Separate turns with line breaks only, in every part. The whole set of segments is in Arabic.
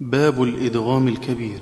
باب الإدغام الكبير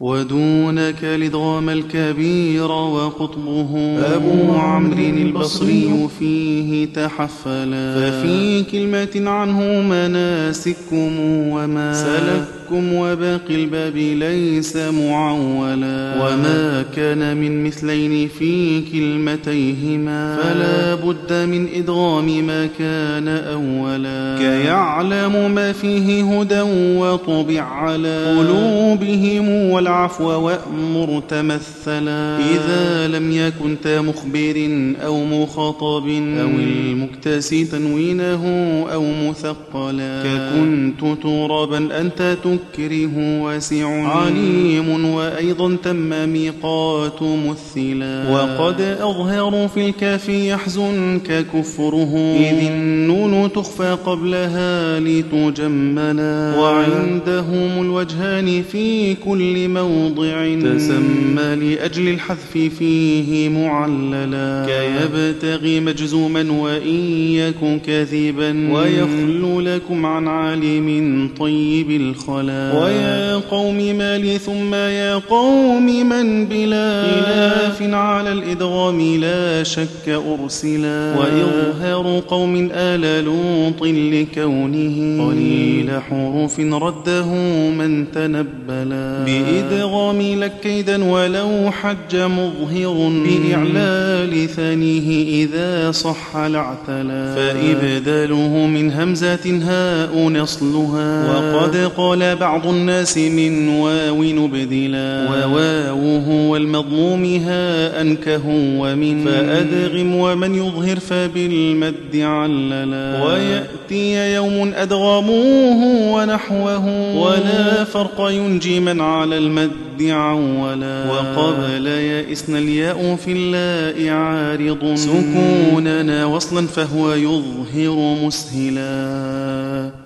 ودونك الإدغام الكبير وقطبه أبو عمرو البصري فيه تحفلا ففي كلمة عنه مناسككم وما سلككم وباقي الباب ليس معولا وما كان من مثلين في كلمتيهما فلا بد من إدغام ما كان أولا كيعلم ما فيه هدى وطبع على قلوبهم والعفو وأمر تمثلا إذا لم يكن تا مخبر أو مخاطب أو المكتسي تنوينه أو مثقلا ككنت ترابا أنت تكره واسع عليم وأيضا تم ميقات مثلا وقد أظهر في الكاف يحزنك كفره إذ النون تخفى قبلها لتجملا وعندهم الوجهان في كل موضع تسمى لأجل الحذف فيه معللا كيبتغي مجزوما وإن يكن كاذبا ويخل لكم عن عالم طيب الخلا ويا قوم ما لي ثم يا قوم من بلا خلاف على الإدغام لا شك أرسلا وإظهار قوم آل لوط لكونه قليل حروف رده من تنبلا بإدغام لك كيدا ولو حج مظهر بإعلال ثانيه إذا صح لاعتلا فإبداله من همزة هاء نصلها وقد قال بعض الناس من واو نبدلا وواوه والمضموم هاء كهو من فأدغم ومن يظهر فبالمد عللا ويأتي يوم أدغموه ونحوه ولا فرق ينجي من على المد عولا وقبل يئسن الياء في اللاء عارض سكوننا وصلا فهو يظهر مسهلا